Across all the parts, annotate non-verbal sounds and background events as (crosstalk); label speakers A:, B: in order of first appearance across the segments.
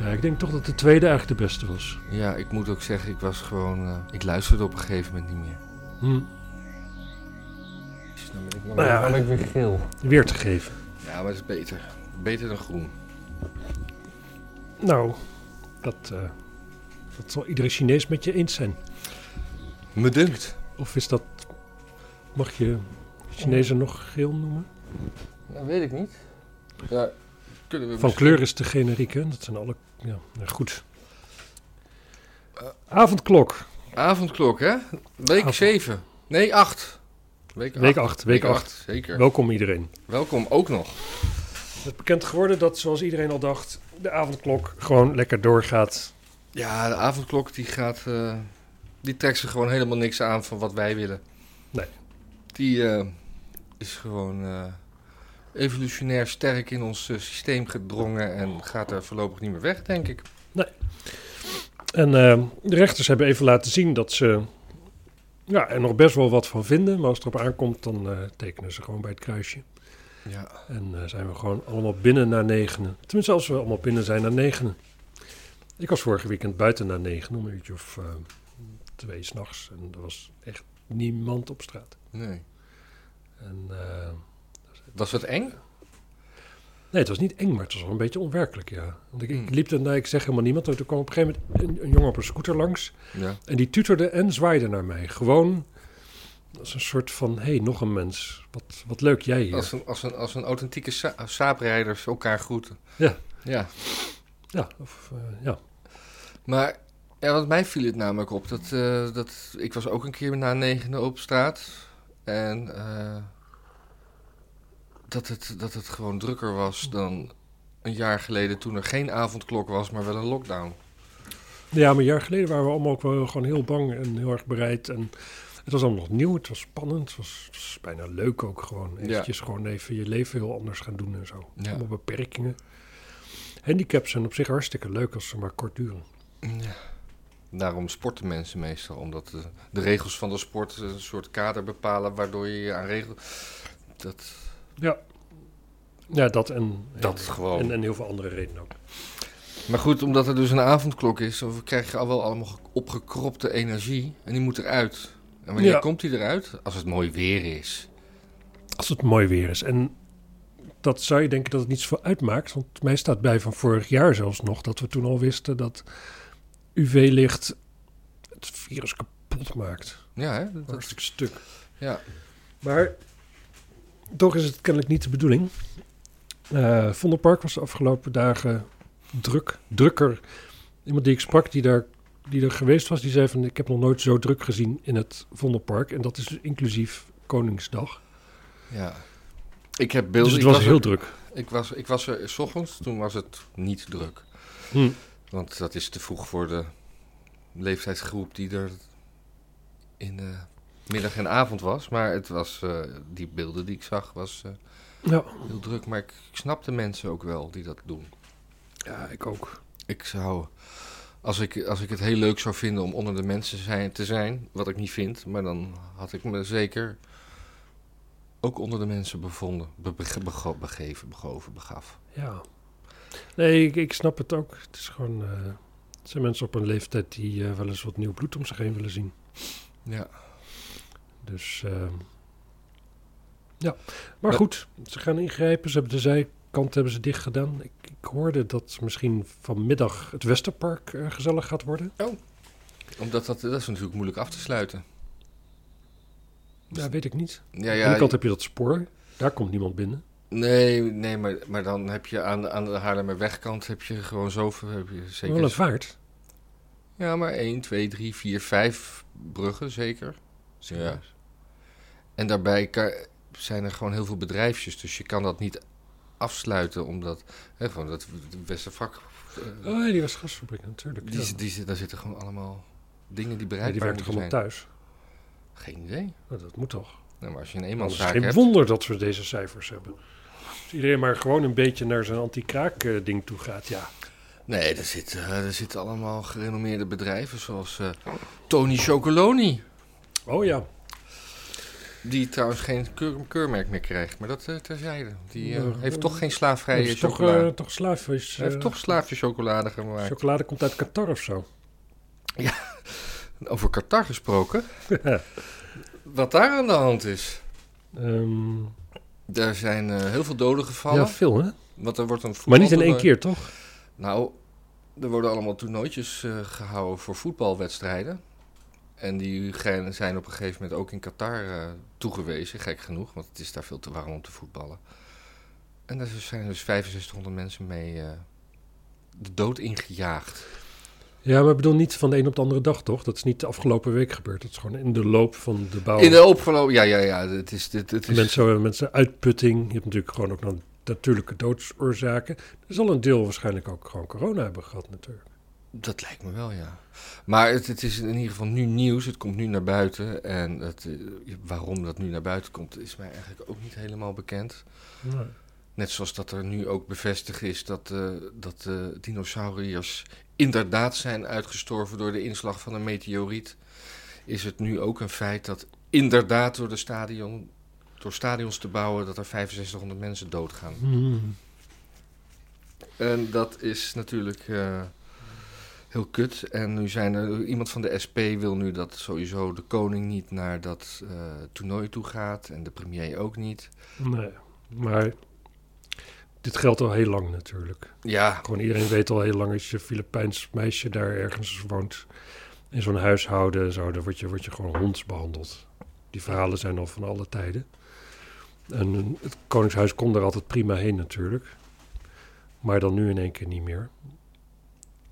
A: Ja, ik denk toch dat de tweede eigenlijk de beste was.
B: Ja, ik moet ook zeggen, ik was gewoon... eh, ik luisterde op een gegeven moment niet meer.
A: Hm.
B: Dus dan ben ik nog-
A: Nou ja,
C: Dan ben ik weer geel.
A: Weer te geven.
B: Ja, maar het is beter. Beter dan groen.
A: Nou, dat, eh, dat zal iedere Chinees met je eens zijn.
B: Me dunkt.
A: Of is dat... Mag je Chinezen nog geel noemen?
C: Dat weet ik niet.
B: Ja, kunnen we
A: Van
B: misschien-
A: kleur is te generiek, hè? Dat zijn alle... Ja, nou goed. Avondklok.
B: Avondklok, hè? Week
A: Avond.
B: 7. Nee, 8. Week 8.
A: Week 8. Week 8.
B: Zeker.
A: Welkom iedereen.
B: Welkom ook nog.
A: Het is bekend geworden dat, zoals iedereen al dacht, de avondklok gewoon lekker doorgaat.
B: Ja, de avondklok die gaat. eh, die trekt zich gewoon helemaal niks aan van wat wij willen.
A: Nee.
B: Die eh, is gewoon eh, evolutionair sterk in ons eh, systeem gedrongen en gaat er voorlopig niet meer weg, denk ik.
A: En eh, de rechters hebben even laten zien dat ze ja, er nog best wel wat van vinden. Maar als het erop aankomt, dan eh, tekenen ze gewoon bij het kruisje.
B: Ja.
A: En eh, zijn we gewoon allemaal binnen naar negenen. Tenminste, als we allemaal binnen zijn naar negenen. Ik was vorige weekend buiten naar negen, om een uurtje of eh, twee s'nachts. En er was echt niemand op straat.
B: Nee.
A: En, eh,
B: Was dat eng?
A: nee, het was niet eng, maar het was wel een beetje onwerkelijk, ja. Want ik, ik
B: Hmm.
A: liep er, nou, ik zeg helemaal niemand, want er kwam op een gegeven moment een, een jongen op een scooter langs.
B: Ja.
A: En die tuterde en zwaaide naar mij. Gewoon als een soort van, hé, hey, nog een mens. Wat, wat leuk jij hier.
B: Als, een, als, een, als een authentieke sa- saaprijders elkaar groeten.
A: Ja.
B: Ja.
A: Ja, of, eh, ja.
B: Maar ja, want mij viel het namelijk op dat, eh, dat ik was ook een keer na negende op straat en eh, dat, het, dat het gewoon drukker was dan een jaar geleden toen er geen avondklok was, maar wel een lockdown.
A: Ja, maar een jaar geleden waren we allemaal ook wel gewoon heel bang en heel erg bereid. En het was allemaal nog nieuw, het was spannend, het was, het was bijna leuk ook gewoon.
B: Ja.
A: Eventjes gewoon even je leven heel anders gaan doen en zo.
B: Ja.
A: Allemaal beperkingen. Handicaps zijn op zich hartstikke leuk als ze maar kort duren.
B: Daarom sporten mensen meestal, omdat de, de regels van de sport een soort kader bepalen waardoor je je aan regels... Dat,
A: Ja, ja dat en,
B: dat
A: en,
B: gewoon.
A: en, en heel veel andere redenen ook.
B: Maar goed, omdat er dus een avondklok is, dan krijg je al wel allemaal ge- opgekropte energie. En die moet eruit. En wanneer
A: Ja.
B: komt die eruit? Als het mooi weer is.
A: Als het mooi weer is. En dat zou je denken dat het niet zoveel uitmaakt. Want mij staat bij van vorig jaar zelfs nog dat we toen al wisten dat UV-licht het virus kapot maakt.
B: Ja, hè? Dat- dat-
A: Hartstikke stuk.
B: ja.
A: Maar toch is het kennelijk niet de bedoeling. Eh Vondelpark was de afgelopen dagen druk, drukker. Iemand die ik sprak, die daar die er geweest was, die zei van... ik heb nog nooit zo druk gezien in het Vondelpark. En dat is dus inclusief Koningsdag.
B: ja. Ik heb
A: Dus
B: beelden.
A: het
B: ik,
A: was,
B: was
A: heel
B: er,
A: druk.
B: ik, was, ik was er s ochtends, toen was het niet druk.
A: Hm.
B: Want dat is te vroeg voor de leeftijdsgroep die er in de middag en avond was. Maar het was, eh, die beelden die ik zag, was eh,
A: Ja.
B: heel druk. Maar ik, ik snap de mensen ook wel die dat doen.
A: ja, ik ook.
B: Ik zou, als ik, als ik het heel leuk zou vinden om onder de mensen zijn, te zijn, wat ik niet vind, maar dan had ik me zeker ook onder de mensen bevonden, be- bege- bego- begeven, begoven, begaf.
A: Ja. Nee, ik, ik snap het ook. Het is gewoon... eh, het zijn mensen op een leeftijd die eh, wel eens wat nieuw bloed om zich heen willen zien.
B: Ja.
A: Dus ehm, ja, maar goed, ze gaan ingrijpen. Ze hebben de zijkant hebben ze dicht gedaan. Ik, ik hoorde dat misschien vanmiddag het Westerpark eh, gezellig gaat worden.
B: Omdat dat, dat is natuurlijk moeilijk af te sluiten.
A: Ja, weet ik niet.
B: Ja,
A: Aan de
B: ja,
A: kant heb je dat spoor. Daar komt niemand binnen.
B: nee, nee maar, maar dan heb je aan, de- aan de Haarlemmerwegkant heb je gewoon zoveel, heb je
A: Wel een
B: zeker...
A: vaart.
B: Ja, maar 1, 2, 3, 4, 5 bruggen zeker. Ja. En daarbij ka- zijn er gewoon heel veel bedrijfjes, dus je kan dat niet afsluiten, omdat hè, gewoon dat Westervak, eh,
A: Oh, ja, die was gasfabriek natuurlijk.
B: die,
A: ja.
B: zi- die, zi- daar zitten gewoon allemaal dingen die
A: Nee, die
B: bereikbaar
A: werkt
B: moeten
A: gewoon
B: zijn.
A: thuis.
B: Geen idee.
A: Nou, dat moet toch.
B: Nou, maar als je een
A: Het is
B: eenmanszaak
A: geen
B: hebt,
A: wonder dat we deze cijfers hebben. Als iedereen maar gewoon een beetje naar zijn anti-kraak eh, ding toe gaat, ja.
B: nee, er zitten eh, er zitten allemaal gerenommeerde bedrijven zoals eh, Tony Chocoloni.
A: Oh ja.
B: Die trouwens geen keur- keurmerk meer krijgt, maar dat eh, terzijde. Die eh,
A: Ja.
B: heeft toch geen
A: Hij
B: slaafvrije
A: is toch,
B: chocolade.
A: eh, toch slaaf. Is,
B: Hij heeft
A: eh,
B: toch slaafje chocolade gemaakt.
A: Chocolade komt uit Qatar of zo.
B: Over Qatar gesproken. Wat daar aan de hand is.
A: Ehm,
B: Er zijn eh, heel veel doden gevallen.
A: ja, veel hè?
B: Want er wordt een voetbal
A: Maar niet in één keer, toch?
B: Nou, er worden allemaal toernooitjes eh, gehouden voor voetbalwedstrijden. En die ge- zijn op een gegeven moment ook in Qatar eh, toegewezen, gek genoeg, want het is daar veel te warm om te voetballen. En daar zijn dus 6500 mensen mee eh, de dood ingejaagd.
A: Ja, maar ik bedoel niet van de een op de andere dag, toch? Dat is niet de afgelopen week gebeurd. Dat is gewoon in de loop van de bouw.
B: In de opgelopen, ja, ja, ja, het is, dit, het is
A: Mensen, mensen uitputting. Je hebt natuurlijk gewoon ook nog natuurlijke doodsoorzaken. Er zal een deel waarschijnlijk ook gewoon corona hebben gehad natuurlijk.
B: Dat lijkt me wel, ja. Maar het, het is in ieder geval nu nieuws. Het komt nu naar buiten. En het, eh, waarom dat nu naar buiten komt, is mij eigenlijk ook niet helemaal bekend. Net zoals dat er nu ook bevestigd is dat, eh, dat eh, dinosauriërs inderdaad zijn uitgestorven door de inslag van een meteoriet. Is het nu ook een feit dat inderdaad door, de stadion, door stadions te bouwen dat er 6500 mensen doodgaan.
A: Hmm.
B: En dat is natuurlijk eh, heel kut. En nu zijn er, iemand van de SP wil nu dat sowieso de koning niet naar dat eh, toernooi toe gaat. En de premier ook niet.
A: Nee, maar dit geldt al heel lang natuurlijk.
B: Ja,
A: Gewoon iedereen weet al heel lang als je een Filipijns meisje daar ergens woont in zo'n huishouden, en zo, dan word je, word je gewoon honds behandeld. Die verhalen zijn al van alle tijden. En eh, het Koningshuis kon er altijd prima heen natuurlijk. Maar dan nu in één keer niet meer.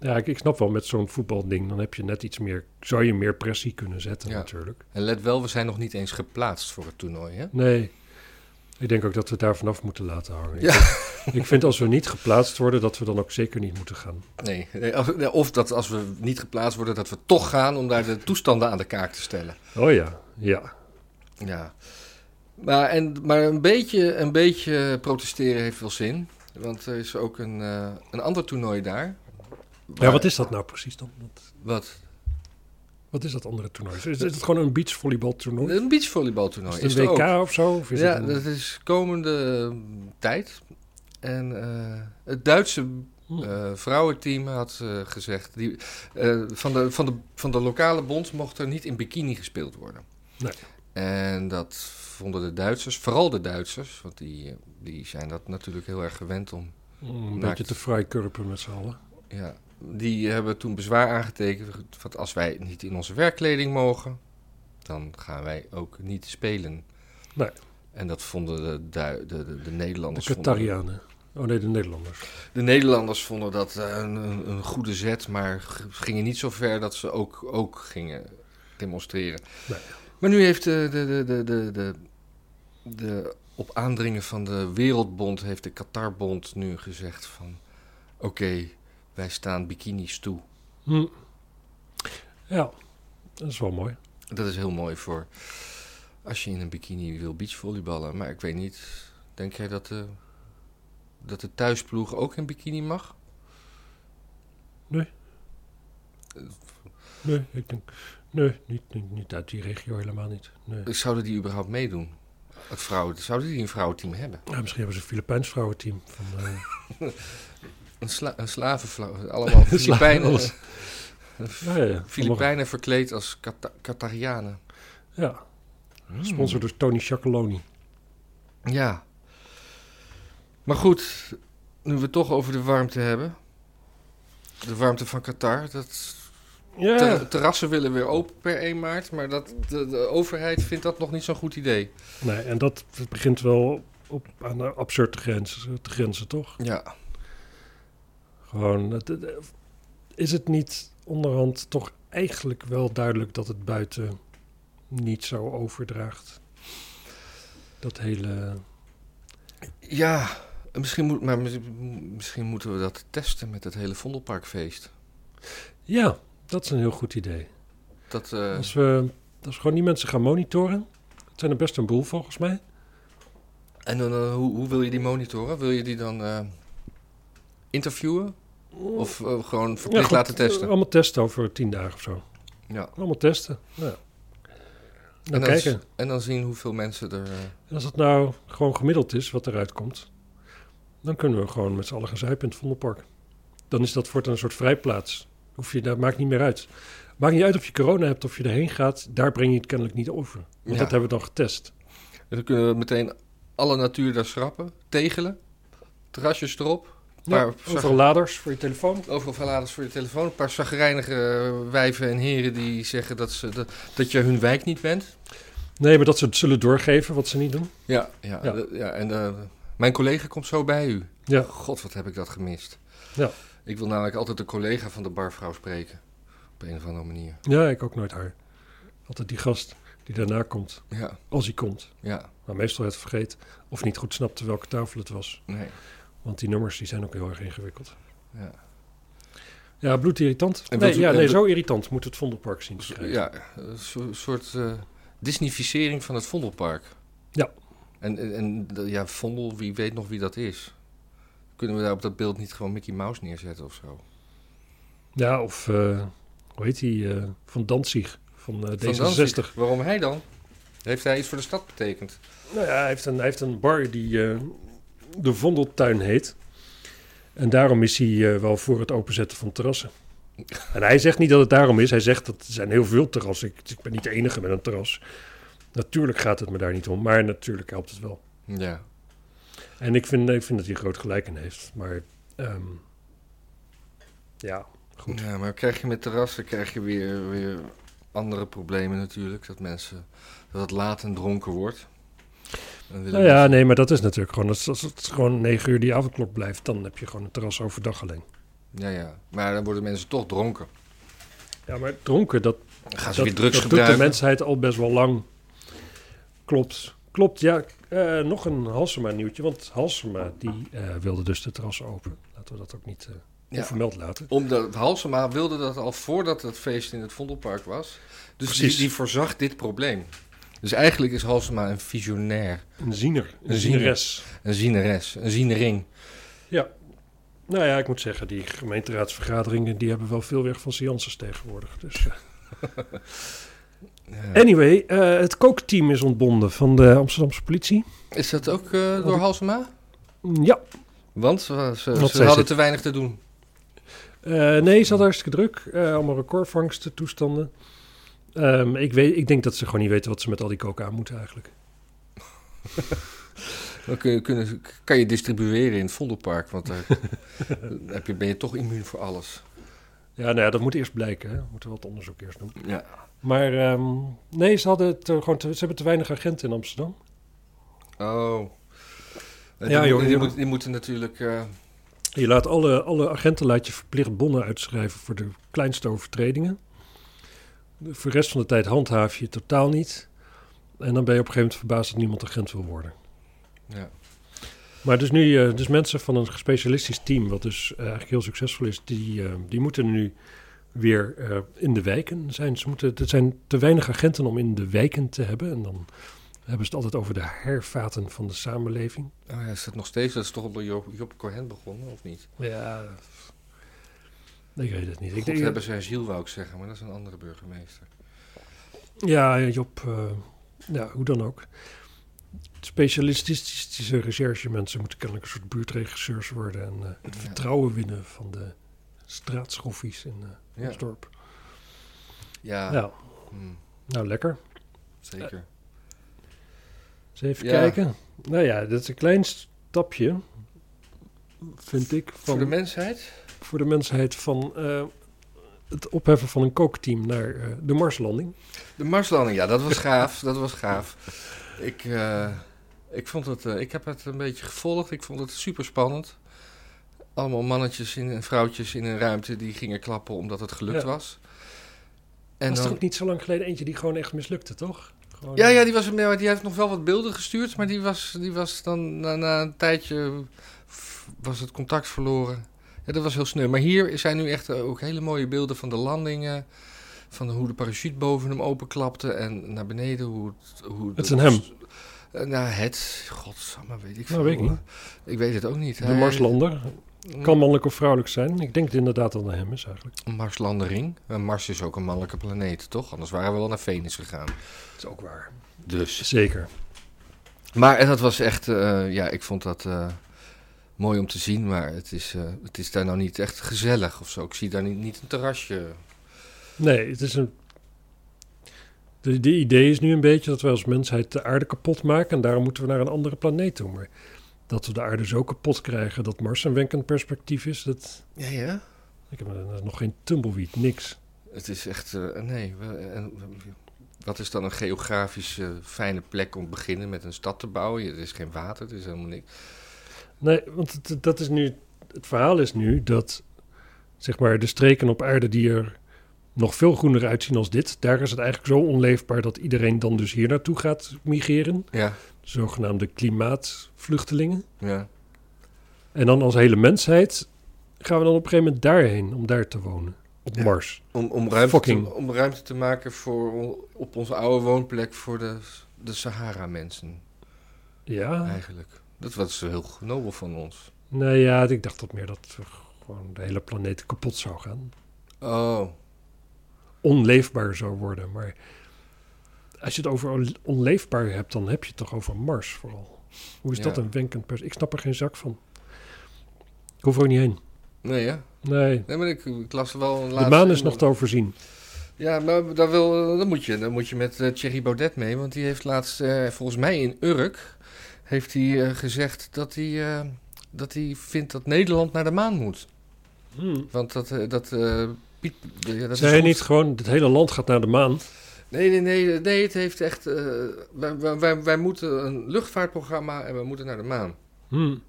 A: Ja, ik, ik snap wel, met zo'n voetbalding, dan heb je net iets meer, zou je meer pressie kunnen zetten
B: Ja.
A: natuurlijk.
B: en let wel, we zijn nog niet eens geplaatst voor het toernooi, hè?
A: Nee. Ik denk ook dat we het daar vanaf moeten laten hangen.
B: Ja.
A: Ik, vind, ik vind als we niet geplaatst worden, dat we dan ook zeker niet moeten gaan.
B: Nee, nee, of- nee, of dat als we niet geplaatst worden, dat we toch gaan om daar de toestanden aan de kaak te stellen.
A: Oh ja, ja.
B: Ja. Maar, en, maar een, beetje, een beetje protesteren heeft wel zin. Want er is ook een, eh, een ander toernooi daar.
A: Ja, wat is dat nou precies dan? Wat,
B: Wat?
A: wat is dat andere toernooi? Is, is het gewoon een beachvolleybaltoernooi?
B: Een beachvolleybaltoernooi.
A: Is het
B: er
A: een WK
B: ook.
A: of zo? Of is
B: ja,
A: het een-
B: dat is komende eh, tijd. En eh, het Duitse
A: Hm.
B: eh, vrouwenteam had eh, gezegd... Die, eh, van, de, van, de, van de lokale bond mocht er niet in bikini gespeeld worden.
A: Nee.
B: En dat vonden de Duitsers, vooral de Duitsers... want die, eh, die zijn dat natuurlijk heel erg gewend om
A: Om een
B: Naakt.
A: beetje te vrij kurpen met z'n allen.
B: ja, die hebben toen bezwaar aangetekend. Want als wij niet in onze werkkleding mogen, dan gaan wij ook niet spelen.
A: Nee.
B: En dat vonden de, Dui- de, de, de
A: De
B: Nederlanders. vonden,
A: Qatarianen. Oh nee, de Nederlanders.
B: de Nederlanders vonden dat eh, een, een, een goede zet, maar g- gingen niet zo ver dat ze ook, ook gingen demonstreren.
A: Nee.
B: Maar nu heeft eh, de, de, de, de, de, de, de- op aandringen van de Wereldbond, heeft de Qatarbond nu gezegd van oké, wij staan bikinis toe.
A: Hm. Ja, dat is wel mooi.
B: Dat is heel mooi voor als je in een bikini wil beachvolleyballen. Maar ik weet niet, denk jij dat de, dat de thuisploeg ook in bikini mag?
A: Nee, ik denk... Nee, niet, niet, niet uit die regio helemaal niet. Nee.
B: Zouden die überhaupt meedoen? Het vrouwen, zouden die een vrouwenteam hebben?
A: Ja, misschien hebben ze een Filipijns vrouwenteam. Van, eh,
B: Een, sla, een slavenvrouw, allemaal Filipijnen.
A: alles.
B: eh,
A: ja, ja, ja.
B: (laughs) Filipijnen verkleed als Qata- Qatarianen.
A: Ja, Sponsor Hmm. door Tony Chocoloni.
B: Ja. Maar goed, nu we het toch over de warmte hebben. De warmte van Qatar, dat Ter- terrassen willen weer open per 1 maart, maar dat, de, de overheid vindt dat nog niet zo'n goed idee.
A: Nee, en dat begint wel op, aan de absurde grenzen, te grenzen, toch?
B: Ja.
A: Gewoon, het- het- is het niet onderhand toch eigenlijk wel duidelijk dat het buiten niet zo overdraagt? Dat hele...
B: Ja, misschien, moet, maar mis- misschien moeten we dat testen met het hele Vondelparkfeest.
A: Ja, dat is een heel goed idee.
B: Dat, eh,
A: Als we, als we gewoon die mensen gaan monitoren... Het zijn er best een boel volgens mij.
B: en dan, eh, hoe, hoe wil je die monitoren? Wil je die dan eh, interviewen? Of eh, gewoon
A: Ja,
B: verplicht
A: goed, eh,
B: laten testen?
A: Allemaal testen over tien dagen of zo.
B: Ja.
A: Allemaal testen. Ja. Dan
B: en, dan,
A: kijken.
B: en dan zien hoeveel mensen er... eh,
A: En als het nou gewoon gemiddeld is wat eruit komt, dan kunnen we gewoon met z'n allen gaan zuipen in het Vondelpark. Dan is dat voortaan een soort vrijplaats. Hoef je, dat maakt niet meer uit. Maakt niet uit of je corona hebt of je erheen gaat, daar breng je het kennelijk niet over. Want
B: Ja.
A: dat hebben we dan getest.
B: dan kunnen we meteen alle natuur daar schrappen. Tegelen. Terrasjes erop. Een
A: Ja,
B: paar
A: overal laders voor je telefoon.
B: Overal verladers voor je telefoon. Een paar zagrijnige eh, wijven en heren die zeggen dat, ze, dat, dat je hun wijk niet bent.
A: Nee, maar dat ze het zullen doorgeven wat ze niet doen.
B: Ja, ja,
A: Ja.
B: d- ja, en eh, mijn collega komt zo bij u.
A: Ja.
B: God, wat heb ik dat gemist.
A: Ja.
B: Ik wil namelijk altijd de collega van de barvrouw spreken. Op een of andere manier.
A: Ja, ik ook nooit haar. Altijd die gast die daarna komt,
B: Ja,
A: als hij komt.
B: ja,
A: Maar meestal het vergeet of niet goed snapte welke tafel het was.
B: nee.
A: Want die nummers die zijn ook heel erg ingewikkeld.
B: Ja.
A: Ja, bloedirritant.
B: En
A: Nee,
B: wat-
A: ja,
B: en
A: nee,
B: wat-
A: zo irritant moet het Vondelpark zien te
B: Zo-
A: krijgen.
B: Ja, een so- soort eh Disneyficering van het Vondelpark.
A: Ja.
B: En, en, en, de- ja, Vondel, wie weet nog wie dat is. Kunnen we daar op dat beeld niet gewoon Mickey Mouse neerzetten of zo?
A: Ja, of eh, hoe heet die? eh, van Danzig, van eh,
B: Van
A: D66.
B: Danzig. Waarom hij dan? Heeft hij iets voor de stad betekend?
A: Nou ja, hij heeft een, hij heeft een bar die eh, de Vondeltuin heet. En daarom is hij eh, wel voor het openzetten van
B: (laughs)
A: terrassen. En hij zegt niet dat het daarom is. Hij zegt dat er zijn heel veel terrassen. Ik, ik ben niet de enige met een terras. Natuurlijk gaat het me daar niet om, maar natuurlijk helpt het wel.
B: Ja.
A: En ik vind, ik vind dat hij groot gelijk in heeft. Maar ehm, ja, Goed.
B: Ja, maar krijg je met terrassen krijg je weer, weer andere problemen natuurlijk. Dat mensen, dat het laat en dronken wordt. Dan willen
A: nou ja,
B: mensen-
A: nee, maar dat is natuurlijk gewoon... Als, als het gewoon negen uur die avondklok blijft... dan heb je gewoon een terras overdag alleen.
B: ja, ja. Maar dan worden mensen toch dronken.
A: Ja, maar dronken, dat
B: Dan gaan ze
A: dat,
B: weer drugs
A: dat doet
B: gebruiken.
A: de mensheid al best wel lang. Klopt. Klopt, ja. Eh, nog een Halsema nieuwtje. Want Halsema die eh, wilde dus de terrassen open. Laten we dat ook niet eh
B: Ja.
A: onvermeld laten.
B: Omdat Halsema wilde dat al voordat het feest in het Vondelpark was. Dus die,
A: Precies.
B: die voorzag dit probleem. Dus eigenlijk is Halsema een visionair.
A: Een ziener. Een
B: Een
A: zieneres.
B: Een zieneres. Een zienering.
A: Nou ja, ik moet zeggen, die gemeenteraadsvergaderingen... die hebben wel veel weg van seances tegenwoordig. Dus, eh.
B: Ja.
A: Anyway, eh, het kookteam is ontbonden van de Amsterdamse politie.
B: Is dat ook eh, door
A: Want-
B: Halsema?
A: Ja,
B: Want ze, ze-
A: Want
B: ze
A: zij
B: hadden
A: zit-
B: te weinig te doen.
A: Eh, nee, ze had hartstikke druk. Eh, allemaal recordvangsten, toestanden. Ehm, ik, weet, ik denk dat ze gewoon niet weten wat ze met al die coca aan moeten eigenlijk.
B: Dan kun je, kunnen, kan je distribueren in het Vondelpark. Want (laughs) daar dan heb je, ben je toch immuun voor alles.
A: Ja, nou ja, dat moet eerst blijken. Hè. We moeten wat onderzoek eerst doen.
B: Ja.
A: Maar ehm, nee, ze, hadden te, gewoon te- ze hebben te weinig agenten in Amsterdam.
B: Oh.
A: Ja,
B: Die,
A: joh,
B: moeten- die,
A: joh.
B: moet- die moeten natuurlijk... eh,
A: Je laat alle, alle agenten laat je verplicht bonnen uitschrijven voor de kleinste overtredingen. De- Voor de rest van de tijd handhaaf je het totaal niet. En dan ben je op een gegeven moment verbaasd dat niemand agent wil worden.
B: ja.
A: Maar dus nu, eh, dus mensen van een gespecialistisch team, wat dus eh, eigenlijk heel succesvol is, die, eh, die moeten nu weer eh, in de wijken zijn. Ze moeten, er zijn te weinig agenten om in de wijken te hebben. En dan hebben ze het altijd over de hervaten van de samenleving.
B: Oh ja, is dat nog steeds? Dat is toch al door Job, Job Cohen begonnen, of niet?
A: Ja, ik weet het niet. Ik
B: Ik
A: denk,
B: hebben ze ziel, wou ik zeggen, maar dat is een andere burgemeester.
A: Ja, Job, eh, ja, hoe dan ook. Specialistische recherchemensen moeten kennelijk een soort buurtregisseurs worden en eh, het
B: Ja.
A: vertrouwen winnen van de straatschoffies in eh
B: Ja,
A: ons dorp.
B: ja, Eh,
A: Ja,
B: hm,
A: nou lekker.
B: zeker.
A: Eens even
B: Ja.
A: kijken. Nou ja, dat is een klein stapje, vind ik, van,
B: Voor de mensheid?
A: mensheid van eh, het opheffen van een kookteam naar eh, de Marslanding.
B: De Marslanding, ja, dat was gaaf. dat was gaaf. Ik, eh, ik, vond het, eh, ik heb het een beetje gevolgd. Ik vond het super spannend. Allemaal mannetjes in- en vrouwtjes in een ruimte die gingen klappen omdat het gelukt
A: Ja.
B: was.
A: En
B: En
A: was er
B: dan,
A: ook niet zo lang geleden eentje die gewoon echt mislukte, toch? Gewoon-
B: ja, ja die, was, ja, die heeft nog wel wat beelden gestuurd, maar die was, die was dan na, na een tijdje f- was het contact verloren. Ja, dat was heel sneu. Maar hier zijn nu echt eh, ook hele mooie beelden van de landingen. Van hoe de parachute boven hem openklapte en naar beneden. Hoe het, hoe
A: Het is een hem.
B: Eh, nou, het. Godsamme, weet ik
A: Nou, weet ik
B: veel,
A: niet.
B: hoor. Ik weet het ook niet.
A: De
B: Hij-
A: Marslander. Kan mannelijk of vrouwelijk zijn. Ik denk dat het inderdaad dat het een hem is eigenlijk.
B: Marslandering. En Mars is ook een mannelijke planeet, toch? Anders waren we wel naar Venus gegaan.
A: Dat is ook waar.
B: Dus.
A: Zeker.
B: Maar eh, dat was echt, eh, ja, ik vond dat eh, mooi om te zien, maar het is, eh, het is daar nou niet echt gezellig of zo. Ik zie daar niet, niet een terrasje.
A: Nee, het is een... De, de idee is nu een beetje dat wij als mensheid de aarde kapot maken... en daarom moeten we naar een andere planeet toe. Maar dat we de aarde zo kapot krijgen dat Mars een wenkend perspectief is... Dat...
B: Ja, ja.
A: Ik heb eh, nog geen tumbleweed, niks.
B: Het is echt, eh, nee. we- en- wat is dan een geografisch eh, fijne plek om te beginnen met een stad te bouwen? Ja, Er is geen water, er is helemaal niks.
A: Nee, want het, dat is nu, het verhaal is nu dat zeg maar, de streken op aarde die er nog veel groener uitzien als dit, daar is het eigenlijk zo onleefbaar dat iedereen dan dus hier naartoe gaat migreren.
B: Ja,
A: Zogenaamde klimaatvluchtelingen.
B: ja.
A: En dan als hele mensheid gaan we dan op een gegeven moment daarheen om daar te wonen. Op
B: Ja.
A: Mars.
B: Om, om, ruimte
A: Fucking.
B: te, om ruimte te maken voor, on- op onze oude woonplek voor de, de Sahara-mensen, Oh.
A: Ja,
B: eigenlijk. Dat was heel nobel van ons.
A: nou ja, ik dacht dat meer dat we gewoon de hele planeet kapot zou gaan.
B: Oh,
A: onleefbaar zou worden. Maar als je het over on- onleefbaar hebt, dan heb je het toch over Mars vooral. Hoe is
B: Ja.
A: dat een wenkend pers? Ik snap er geen zak van. Ik hoef er ook niet heen.
B: nee ja.
A: Nee,
B: Nee, maar ik, ik las wel een
A: de
B: laatste...
A: maan is nog te overzien.
B: Ja, maar dan, wil, dan, moet je, dan moet je met eh, Thierry Baudet mee. Want die heeft laatst, eh, volgens mij in Urk, heeft hij eh, gezegd dat hij, eh, dat hij vindt dat Nederland naar de maan moet. Want dat... eh, dat eh, Piet, ja,
A: Zijn
B: dat is
A: hij
B: goed.
A: niet gewoon, het hele land gaat naar de maan?
B: Nee, nee, nee, nee, het heeft echt... eh, wij, wij- wij, wij moeten een luchtvaartprogramma en we moeten naar de maan.
A: Hmm.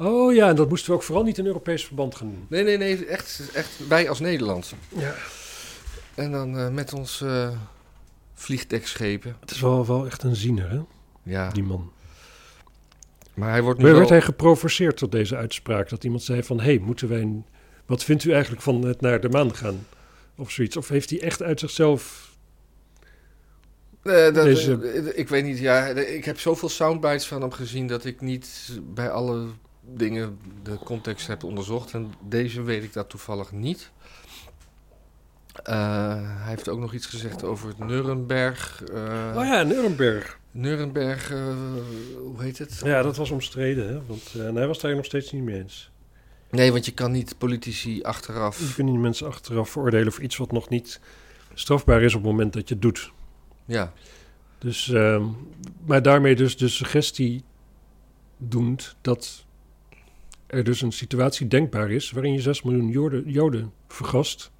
A: Oh ja, en dat moesten we ook vooral niet in Europees verband gaan doen.
B: Nee, nee, nee, echt, echt wij als Nederland.
A: Ja,
B: En dan eh, met ons eh vliegdekschepen.
A: het is wel, wel echt een ziener, hè,
B: Ja,
A: die man.
B: maar hij wordt nu
A: Maar werd
B: wel-
A: hij geprovoceerd tot deze uitspraak? Dat iemand zei van, hé, hey, moeten wij... een- Wat vindt u eigenlijk van het naar de maan gaan? Of zoiets. Of heeft hij echt uit zichzelf...
B: Eh, dat,
A: Deze-
B: eh, ik weet niet, ja, ik heb zoveel soundbites van hem gezien dat ik niet bij alle dingen de context heb onderzocht. En deze weet ik dat toevallig niet. Eh, hij heeft ook nog iets gezegd over het Nuremberg. eh
A: Oh ja, Nuremberg.
B: Nuremberg, eh, hoe heet het?
A: Ja, dat was omstreden, hè. Want eh, en hij was daar nog steeds niet mee eens.
B: Nee, want je kan niet politici
A: Je
B: achteraf.
A: kunt niet mensen achteraf veroordelen voor iets wat nog niet strafbaar is op het moment dat je het doet.
B: Ja,
A: Dus, ehm, maar daarmee dus de suggestie doend dat er dus een situatie denkbaar is waarin je 6 miljoen Joden, Joden vergast.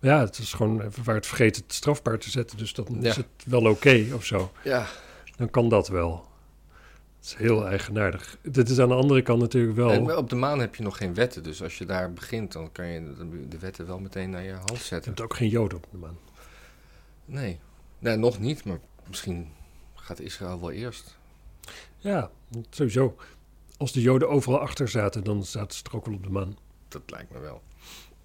A: Ja, het is gewoon even waar het vergeten het strafbaar te zetten, dus dan
B: Ja.
A: is het wel oké of zo.
B: ja.
A: Dan kan dat wel. Het is heel eigenaardig. Dit is aan de andere kant natuurlijk wel.
B: En op de maan heb je nog geen wetten, dus als je daar begint, dan kan je de- de wetten wel meteen naar je hand
A: Je
B: zetten.
A: hebt ook geen Joden op de maan.
B: Nee. nee, nog niet, maar misschien gaat Israël wel eerst.
A: Ja, sowieso. Als de Joden overal achter zaten, dan zaten ze er ook wel op de maan.
B: Dat lijkt me wel.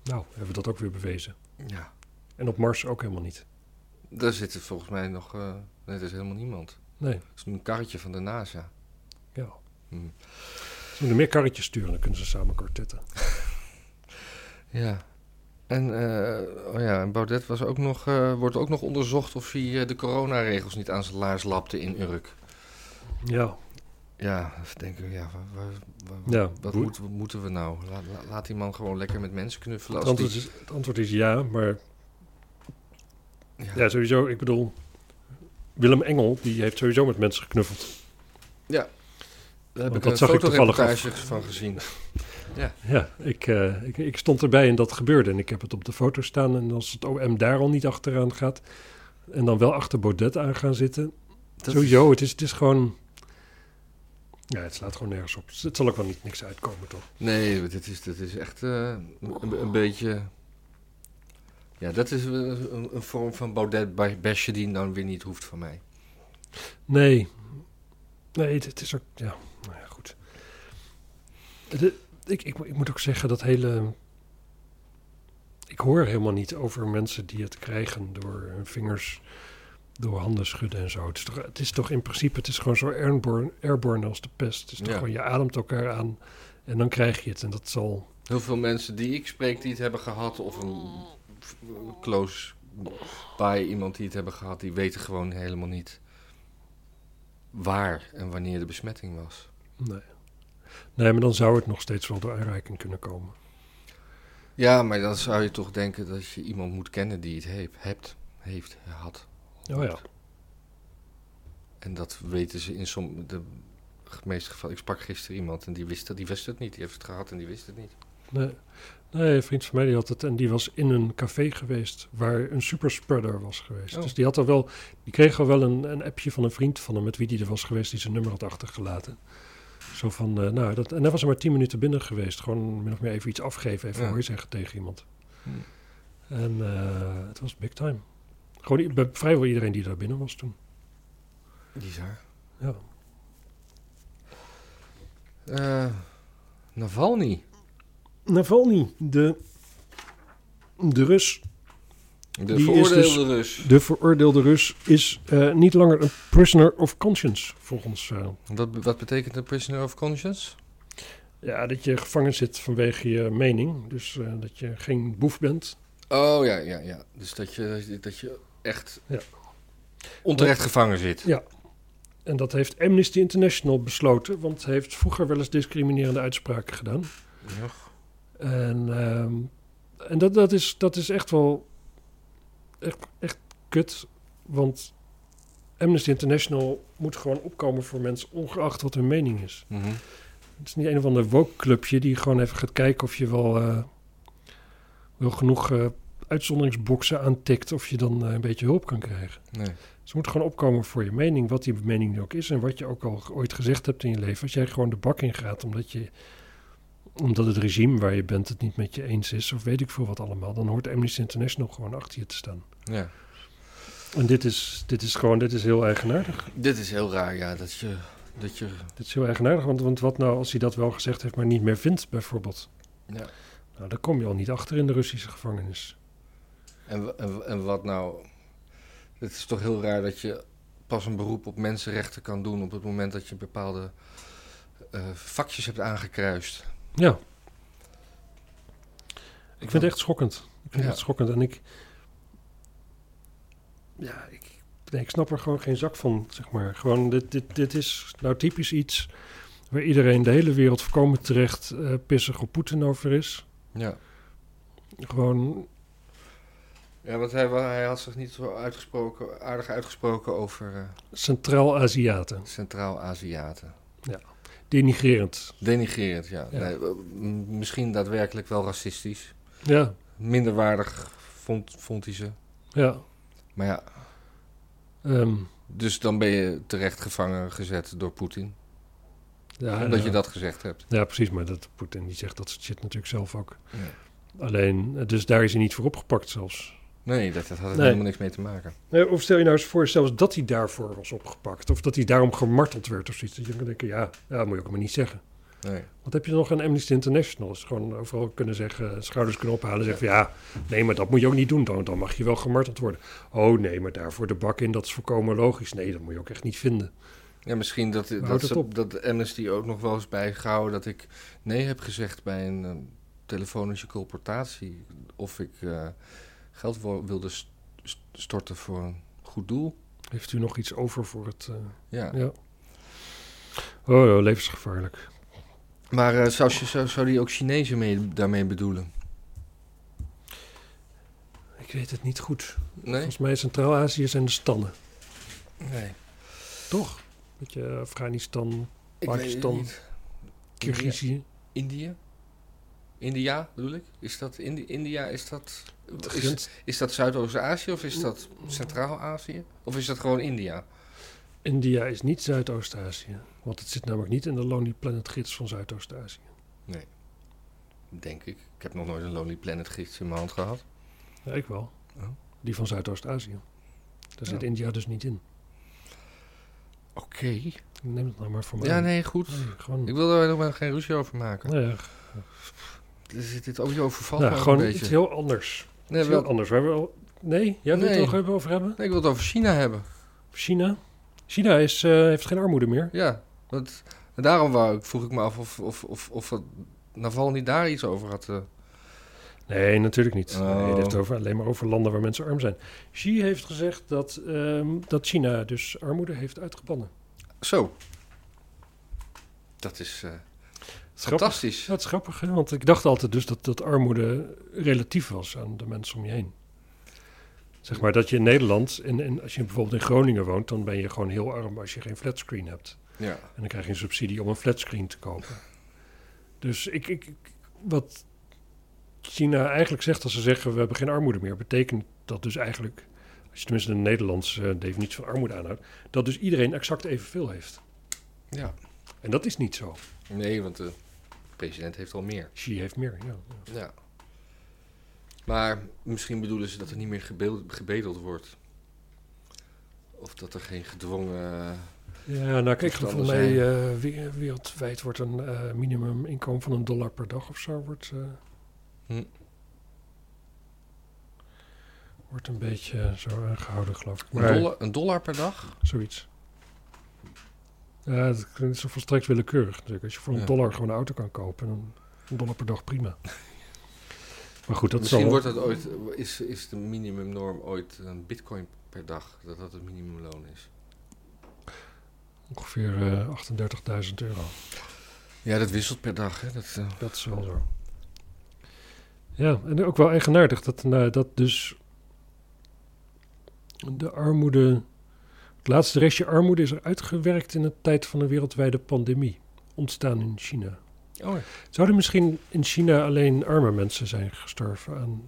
A: Nou, hebben we dat ook weer bewezen.
B: Ja.
A: En op Mars ook helemaal niet.
B: Daar zitten volgens mij nog. eh nee, er is helemaal niemand.
A: Nee,
B: Het is een karretje van de NASA.
A: ja.
B: Hmm.
A: Ze moeten meer karretjes sturen, dan kunnen ze samen kwartetten.
B: Ja. En, eh, oh ja, en Baudet was ook nog, eh, wordt ook nog onderzocht of hij eh, de coronaregels niet aan zijn laars lapte in Urk.
A: Ja,
B: Ja, dan denk ik, ja, waar, waar- waar-
A: Ja,
B: wat
A: hoe-
B: moet- wat moeten we nou? La- la- laat die man gewoon lekker met mensen knuffelen.
A: het
B: Als die-
A: antwoord, is, het antwoord is ja, maar...
B: Ja.
A: Ja, sowieso, ik bedoel... Willem Engel, die heeft sowieso met mensen geknuffeld.
B: Daar heb
A: want
B: ik
A: dat
B: een
A: zag ik toevallig
B: fotoreportage van gezien.
A: Ja, ik, eh, ik, ik stond erbij en dat gebeurde. En ik heb het op de foto staan. En als het OM daar al niet achteraan gaat... en dan wel achter Baudet aan gaan zitten...
B: Dat is-
A: Sowieso, het is, het is gewoon... Ja, het slaat gewoon nergens op. Het zal ook wel niet niks uitkomen, toch?
B: Nee, dit is, dit is echt eh, een, een beetje. Ja, dat is een, een- een vorm van Baudet bij Besje die dan weer niet hoeft van mij.
A: Nee. Nee, het, het is ook... Ja, nou ja, goed. Het- het- ik, ik, moet- ik moet ook zeggen, dat hele... Ik hoor helemaal niet over mensen die het krijgen door hun vingers... door handen schudden en zo. Het is toch, het is toch in principe... Het is gewoon zo airborne, airborne als de pest. Het is toch
B: Ja.
A: gewoon, je ademt elkaar aan... En dan krijg je het. En dat zal...
B: Heel veel mensen die ik spreek die het hebben gehad, of een f- close bij iemand die het hebben gehad, die weten gewoon helemaal niet waar en wanneer de besmetting was.
A: Nee. Nee, maar dan zou het nog steeds wel door aanreiking kunnen komen.
B: Ja, maar dan zou je toch denken dat je iemand moet kennen die het heeft, hebt, heeft, had.
A: Oh ja.
B: En dat weten ze in sommige de meeste gevallen. Ik sprak gisteren iemand en die wist, dat, die wist het niet. Die heeft het gehad en die wist het niet.
A: Nee. nee, een vriend van mij die had het en die was in een café geweest waar een superspreader was geweest.
B: Oh.
A: Dus die had al wel, die kreeg al wel een, een appje van een vriend van hem met wie die er was geweest die zijn nummer had achtergelaten. Zo van, eh, nou, dat, en hij was er maar tien minuten binnen geweest. Gewoon min of meer even iets afgeven, even
B: Ja.
A: hooi zeggen tegen iemand.
B: Hmm.
A: En eh, het was big time. Gewoon i- bij vrijwel iedereen die daar binnen was toen.
B: Bizar.
A: Ja.
B: Eh Navalny.
A: Navalny, de, de Rus
B: De
A: Die is
B: veroordeelde
A: dus-
B: Rus.
A: De veroordeelde Rus is eh, niet langer een prisoner of conscience, volgens. eh,
B: Wat, wat betekent een prisoner of conscience?
A: ja, dat je gevangen zit vanwege je mening. Dus eh, dat je geen boef bent.
B: Oh ja, ja, ja. Dus dat je, dat je echt
A: Ja.
B: onterecht gevangen zit.
A: En dat heeft Amnesty International besloten, want hij heeft vroeger wel eens discriminerende uitspraken gedaan.
B: Ja.
A: En, ehm, en dat, dat, is, dat is echt wel echt, echt kut. Want Amnesty International moet gewoon opkomen voor mensen, ongeacht wat hun mening is.
B: Mhm.
A: Het is niet een of ander woke clubje die gewoon even gaat kijken of je wel, eh, wel genoeg eh, uitzonderingsboxen aantikt. Of je dan eh, een beetje hulp kan krijgen.
B: Nee.
A: Ze moeten gewoon opkomen voor je mening, wat die mening nu ook is. En wat je ook al ge- ooit gezegd hebt in je leven. Als jij gewoon de bak in gaat omdat, je, omdat het regime waar je bent het niet met je eens is. Of weet ik veel wat allemaal. Dan hoort Amnesty International gewoon achter je te staan.
B: Ja.
A: En dit is, dit is gewoon, dit is heel eigenaardig.
B: Dit is heel raar, ja. Dat je, dat je
A: Dit is heel eigenaardig, want, want wat nou als hij dat wel gezegd heeft, maar niet meer vindt bijvoorbeeld.
B: Ja.
A: Nou, daar kom je al niet achter in de Russische gevangenis.
B: En, wa- en, wa- en wat nou? Het is toch heel raar dat je pas een beroep op mensenrechten kan doen op het moment dat je bepaalde eh, vakjes hebt aangekruist.
A: Ja. Ik vind het echt schokkend. Ik vind het
B: Ja.
A: echt schokkend. En ik... Ja, ik, nee, ik snap er gewoon geen zak van, zeg maar. Gewoon, dit, dit, dit is nou typisch iets waar iedereen, de hele wereld, voorkomen terecht eh, pissig op Poetin over is.
B: Ja.
A: Gewoon,
B: ja, want hij, wa- hij had zich niet zo uitgesproken, aardig uitgesproken over eh,
A: Centraal-Aziaten.
B: Centraal-Aziaten.
A: Denigrerend.
B: Denigrerend, ja.
A: Ja.
B: Nee, eh, m- misschien daadwerkelijk wel racistisch.
A: Ja,
B: Minderwaardig vond, vond hij ze.
A: ja.
B: Maar ja,
A: ehm,
B: dus dan ben je terecht gevangen gezet door Poetin.
A: ja eh,
B: omdat
A: ja.
B: je dat gezegd hebt.
A: Ja, precies. Maar dat Poetin die zegt dat soort shit natuurlijk zelf ook.
B: Ja.
A: Alleen, eh, dus daar is hij niet voor opgepakt zelfs.
B: Nee, dat, dat had er
A: Nee.
B: helemaal niks mee te maken.
A: Nee, of stel je nou eens voor zelfs dat hij daarvoor was opgepakt. Of dat hij daarom gemarteld werd of zoiets. Dat je kan denken, ja, ja, dat moet je ook maar niet zeggen.
B: Nee.
A: Wat heb je dan nog aan Amnesty International? Is gewoon overal kunnen zeggen, schouders kunnen ophalen. Zeggen van ja, nee, maar dat moet je ook niet doen. Dan, dan mag je wel gemarteld worden. Oh nee, maar daarvoor de bak in, dat is volkomen logisch. Nee, dat moet je ook echt niet vinden.
B: Ja, misschien dat, dat,
A: Houd het
B: ze-
A: op.
B: dat Amnesty ook nog wel eens bijgehouden dat ik nee heb gezegd bij een eh, telefonische colportatie. Of ik eh, geld wo- wilde st- st- storten voor een goed doel.
A: Heeft u nog iets over voor het... eh,
B: Ja.
A: ja. Oh, oh, levensgevaarlijk.
B: Maar eh, zou, ze- zou, zou die ook Chinezen mee, daarmee bedoelen?
A: Ik weet het niet goed.
B: Nee?
A: Volgens mij in Centraal-Azië zijn de stannen,
B: Nee.
A: toch? Weet je, Afghanistan,
B: Ik weet het
A: Pakistan.
B: niet.
A: Kyrgyzije.
B: India? India bedoel ik? Is dat Indi- India? Is dat,
A: De
B: is,
A: grens.
B: is dat Zuidoost-Azië of is dat
A: Mm.
B: Centraal-Azië? Of is dat gewoon India?
A: India is niet Zuidoost-Azië. Want het zit namelijk niet in de Lonely Planet gids van Zuidoost-Azië.
B: Denk ik. Ik heb nog nooit een Lonely Planet gids in mijn hand gehad.
A: Ja, ik wel.
B: Oh.
A: Die van Zuidoost-Azië. Daar zit
B: Ja.
A: India dus niet in.
B: Oké.
A: Neem het nou maar voor mij.
B: Ja, nee, goed.
A: Nee, gewoon...
B: Ik wil er helemaal geen ruzie over maken.
A: Nou ja,
B: Dus dit- dit ook je overvalt
A: nou,
B: me ook
A: gewoon
B: een
A: iets
B: beetje.
A: heel anders.
B: Nee,
A: iets
B: wel-
A: heel anders. Waar we al... Nee? Jij wilt
B: Nee.
A: het nog even over hebben?
B: nee, ik wil het over China hebben.
A: China? China is, eh, heeft geen armoede meer.
B: Ja, want En daarom wou, ik- vroeg ik me af of, of, of, of dat Naval niet daar iets over had. eh.
A: Nee, natuurlijk niet.
B: Oh.
A: Nee, het heeft over, alleen maar over landen waar mensen arm zijn. Xi heeft gezegd dat, ehm, dat China dus armoede heeft uitgebannen.
B: Zo. Dat is eh,
A: Grappig.
B: fantastisch.
A: Ja, het is grappig, hè? want ik dacht altijd dus dat, dat armoede relatief was aan de mensen om je heen. Zeg maar dat je in Nederland, en, en als je bijvoorbeeld in Groningen woont, dan ben je gewoon heel arm als je geen flatscreen hebt.
B: Ja.
A: En dan krijg je een subsidie om een flatscreen te kopen. Dus ik, ik, ik- wat China eigenlijk zegt als ze zeggen we hebben geen armoede meer, betekent dat dus eigenlijk, als je tenminste de Nederlandse eh, definitie van armoede aanhoudt, dat dus iedereen exact evenveel heeft.
B: ja.
A: En dat is niet zo.
B: Nee, want de president heeft al meer.
A: Xi heeft meer. Ja.
B: Ja. Maar misschien bedoelen ze dat er niet meer gebeel- gebedeld wordt. Of dat er geen gedwongen...
A: Ja, nou kijk,
B: Toestanden
A: volgens mij eh, we- wereldwijd wordt een eh, minimuminkomen van een dollar per dag of zo. Wordt, eh,
B: Hm.
A: wordt een beetje eh, zo aangehouden, geloof ik.
B: Een,
A: Maar
B: dollar, een dollar per dag?
A: zoiets. Ja, dat klinkt zo volstrekt willekeurig natuurlijk. Als je voor een
B: Ja.
A: dollar gewoon een auto kan kopen, dan een dollar per dag
B: (laughs)
A: prima. maar goed, dat
B: misschien
A: zal...
B: wordt dat ooit, is, is de minimumnorm ooit een bitcoin per dag. Dat dat het minimumloon is.
A: ongeveer eh 38.000 euro.
B: Ja, dat wisselt per dag. Hè? Dat, eh,
A: Dat is wel zo. Ja, en ook wel eigenaardig dat, nou, dat dus de armoede, het laatste restje armoede is er uitgewerkt in de tijd van een wereldwijde pandemie, ontstaan in China.
B: oh ja.
A: Zouden misschien in China alleen arme mensen zijn gestorven aan,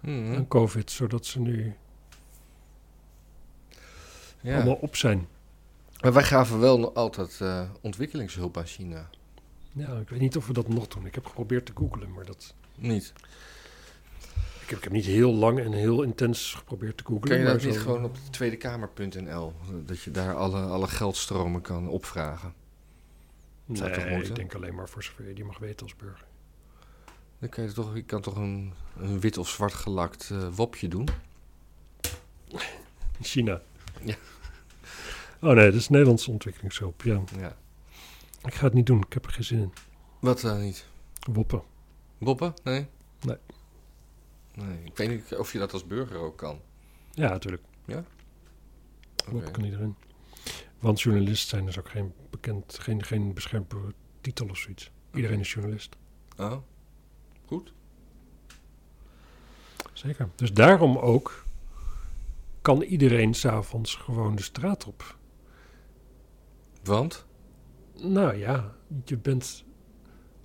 B: Mhm.
A: aan COVID, zodat ze nu
B: Ja.
A: allemaal op zijn?
B: Maar wij gaven wel nog altijd eh, ontwikkelingshulp aan China.
A: Ja, ik weet niet of we dat nog doen. Ik heb geprobeerd te googlen, maar dat,
B: Niet.
A: ik, heb, ik heb niet heel lang en heel intens geprobeerd te googlen.
B: Kun je
A: maar
B: dat niet
A: zo-
B: gewoon op tweedekamer.nl? Dat je daar alle, alle geldstromen kan opvragen. zou toch
A: Nee,
B: moeten?
A: ik denk alleen maar voor zover je die mag weten als burger.
B: Dan kan je toch, je kan toch een, een wit of zwart gelakt eh, wopje doen?
A: In China.
B: Ja.
A: Oh nee, dat is Nederlandse ontwikkelingshulp. Ja.
B: Ja.
A: Ik ga het niet doen, ik heb er geen zin in.
B: Wat dan niet?
A: Woppen.
B: Boppen? Nee?
A: Nee.
B: Nee. Ik weet niet of je dat als burger ook kan.
A: Ja, natuurlijk.
B: Oké.
A: Woppen kan iedereen. Want journalist zijn is ook geen bekend, geen, geen beschermde titel of zoiets. Iedereen is journalist.
B: Oh. Goed.
A: Zeker. Dus daarom ook kan iedereen s'avonds gewoon de straat op.
B: Want?
A: Nou ja, je bent.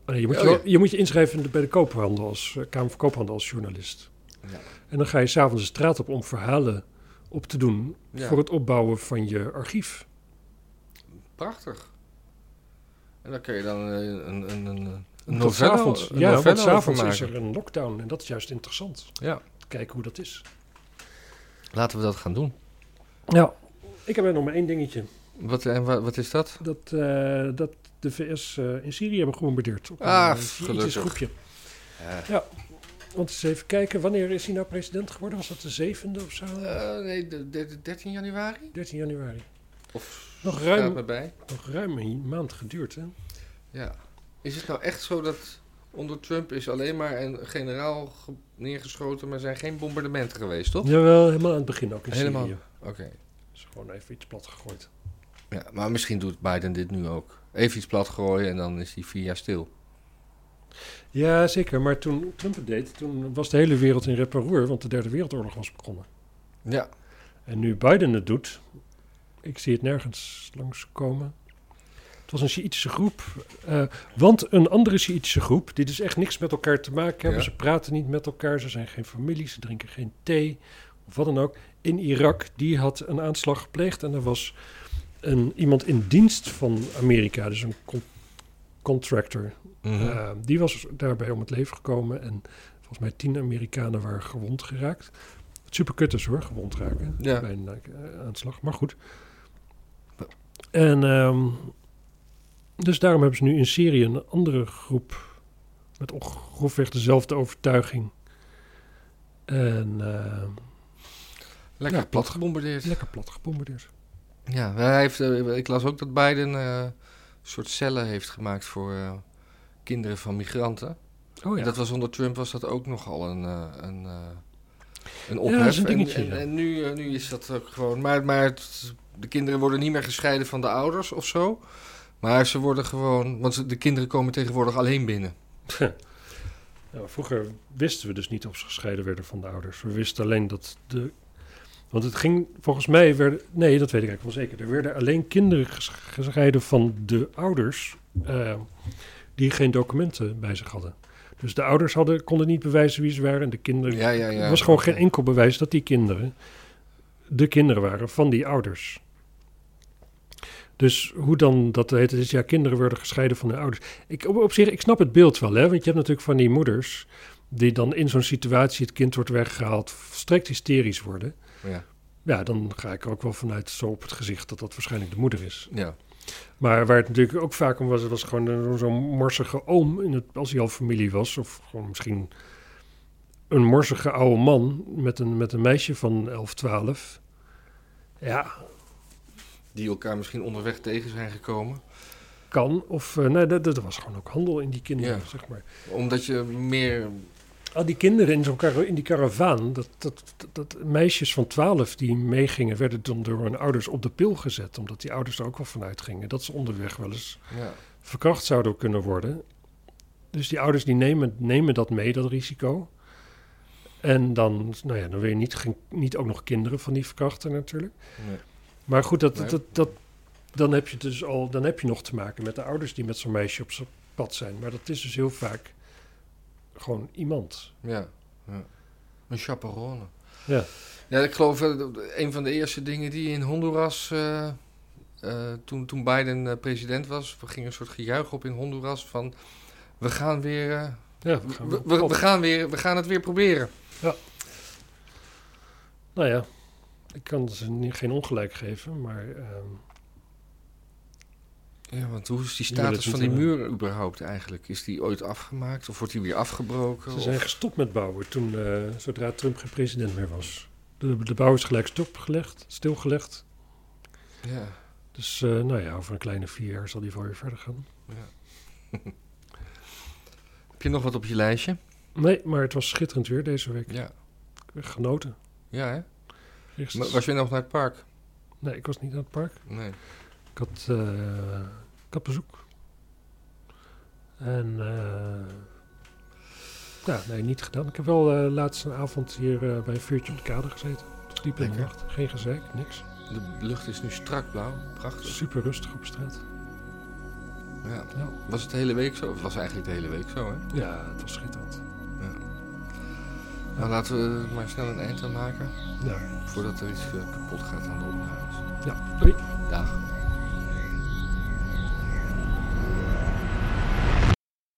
A: Oh, nee, je, moet
B: Oh,
A: je, wel-
B: ja.
A: je moet je inschrijven bij de koophandel als, eh, Kamer van Koophandel als journalist.
B: Ja.
A: En dan ga je s'avonds de straat op om verhalen op te doen
B: Ja.
A: voor het opbouwen van je archief.
B: Prachtig. En dan kun je dan eh, een, een, een, een
A: Want
B: novelle-
A: s'avonds-
B: een
A: ja,
B: novelle
A: want
B: over
A: s'avonds is
B: maken.
A: er een lockdown en dat is juist interessant.
B: Ja.
A: Kijken hoe dat is.
B: Laten we dat gaan doen.
A: Ja. Ik heb er nog maar één dingetje.
B: Wat, en wa- wat is dat?
A: Dat, eh, dat de VS eh, in Syrië hebben gebombardeerd. Op
B: Ah,
A: een, eh, Syrisch
B: gelukkig.
A: groepje.
B: Ja.
A: Want eens even kijken, wanneer is hij nou president geworden? Was dat de zevende of zo?
B: Eh, nee, de, de- de 13 januari?
A: 13 januari.
B: Of
A: Nog
B: staat
A: ruim,
B: me bij?
A: nog ruim een maand geduurd, hè?
B: Ja. Is het nou echt zo dat onder Trump is alleen maar een generaal ge- neergeschoten, maar zijn geen bombardementen geweest, toch?
A: Jawel, helemaal aan het begin ook in
B: Helemaal.
A: Syrië.
B: Oké.
A: Is gewoon even iets plat gegooid.
B: Ja, maar misschien doet Biden dit nu ook. Even iets plat gooien en dan is hij vier jaar stil.
A: Ja, zeker. Maar toen Trump het deed, toen was de hele wereld in rep en roer, want de Derde Wereldoorlog was begonnen.
B: Ja.
A: En nu Biden het doet, ik zie het nergens langskomen. Het was een Sjiitische groep. eh, want een andere Sjiitische groep, die dus echt niks met elkaar te maken hebben.
B: Ja.
A: Ze praten niet met elkaar, ze zijn geen familie, ze drinken geen thee of wat dan ook. In Irak, die had een aanslag gepleegd en er was een, iemand in dienst van Amerika, dus een con- contractor,
B: Mhm.
A: eh, die was daarbij om het leven gekomen en volgens mij tien Amerikanen waren gewond geraakt. Super kut is hoor, gewond raken
B: Ja.
A: bij een eh, aanslag, maar goed. En ehm, dus daarom hebben ze nu in Syrië een andere groep met onge- grofweg dezelfde overtuiging. En eh,
B: Lekker
A: Ja,
B: plat gebombardeerd.
A: lekker plat gebombardeerd.
B: Ja, hij heeft, eh, ik las ook dat Biden eh, soort cellen heeft gemaakt voor eh, kinderen van migranten.
A: Oh
B: En dat was onder Trump was dat ook nogal een, eh, een, eh, een
A: dat is
B: ophef.
A: een dingetje,
B: en
A: ja.
B: en, en nu, eh, nu is dat ook gewoon. Maar, maar het- de kinderen worden niet meer gescheiden van de ouders of zo. Maar ze worden gewoon. Want ze- de kinderen komen tegenwoordig alleen binnen.
A: Nou, vroeger wisten we dus niet of ze gescheiden werden van de ouders. We wisten alleen dat de. Want het ging volgens mij. Werden, nee, dat weet ik eigenlijk wel zeker. Er werden alleen kinderen ges- gescheiden van de ouders. eh, die geen documenten bij zich hadden. Dus de ouders hadden, konden niet bewijzen wie ze waren. En de kinderen.
B: Ja, ja, ja.
A: er was gewoon geen enkel bewijs dat die kinderen. de kinderen waren van die ouders. Dus hoe dan dat heet, is ja, kinderen worden gescheiden van hun ouders. Ik, op, op zich, ik snap het beeld wel, hè? Want je hebt natuurlijk van die moeders die dan in zo'n situatie het kind wordt weggehaald, volstrekt hysterisch worden.
B: Ja,
A: Ja, dan ga ik er ook wel vanuit zo op het gezicht dat dat waarschijnlijk de moeder is.
B: ja.
A: Maar waar het natuurlijk ook vaak om was, het was gewoon een- zo'n morsige oom, in het, als hij al familie was, of gewoon misschien een morsige oude man met een, met een meisje van 11, 12. Ja,
B: Die elkaar misschien onderweg tegen zijn gekomen.
A: kan. Of eh, nee, dat, dat was gewoon ook handel in die kinderen,
B: Ja.
A: zeg maar.
B: Omdat je meer.
A: Al die kinderen in, zo'n kara- in die karavaan, dat, dat, dat, dat meisjes van 12 die meegingen, werden dan door hun ouders op de pil gezet. Omdat die ouders er ook wel van uitgingen dat ze onderweg wel eens
B: Ja.
A: verkracht zouden kunnen worden. Dus die ouders die nemen, nemen dat mee, dat risico. En dan, nou ja, dan wil je niet, geen- niet ook nog kinderen van die verkrachten natuurlijk.
B: Nee.
A: Maar goed, dat,
B: Nee.
A: dat, dat, dan heb je dus al, dan heb je nog te maken met de ouders die met zo'n meisje op zijn pad zijn. Maar dat is dus heel vaak gewoon iemand.
B: Ja, ja. Een chaperone.
A: Ja.
B: Ja, ik geloof eh, dat een van de eerste dingen die in Honduras, eh, eh, toen, toen Biden eh, president was, we gingen een soort gejuich op in Honduras van we gaan weer, eh,
A: Ja, we Oh, gaan
B: we, we, we gaan weer, we gaan het weer proberen.
A: Nou ja, ik kan ze ni- geen ongelijk geven, maar ehm,
B: Ja, want hoe is die
A: Je wil het
B: status
A: niet
B: van die
A: hebben.
B: muur überhaupt eigenlijk? Is die ooit afgemaakt of wordt die weer afgebroken?
A: ze
B: Of-
A: zijn gestopt met bouwen toen, eh, zodra Trump geen president meer was. De, de bouw is gelijk stopgelegd, stilgelegd.
B: Ja,
A: Dus eh, nou ja, over een kleine vier jaar zal die wel weer verder gaan.
B: ja. Heb je nog wat op je lijstje?
A: Nee, maar het was schitterend weer deze week.
B: Ja,
A: Ik heb genoten.
B: ja hè?
A: Echt.
B: Maar Was je nog naar het park?
A: Nee, ik was niet aan het park.
B: Nee.
A: Ik had, eh, ik had bezoek. En eh ja, nee, niet gedaan. Ik heb wel eh, laatst een avond hier eh, bij een vuurtje op de kade gezeten. Tot diep in de
B: Lekker.
A: nacht. Geen gezeik, niks.
B: De lucht is nu strak blauw, prachtig.
A: Super rustig op straat.
B: Ja.
A: Ja.
B: Was het de hele week zo? Of was eigenlijk de hele week zo, hè?
A: Ja, het was schitterend.
B: Nou, laten we er maar snel een eind aan maken.
A: Ja.
B: Voordat er iets eh, kapot gaat aan de opnames.
A: Ja, doei.
B: Dag.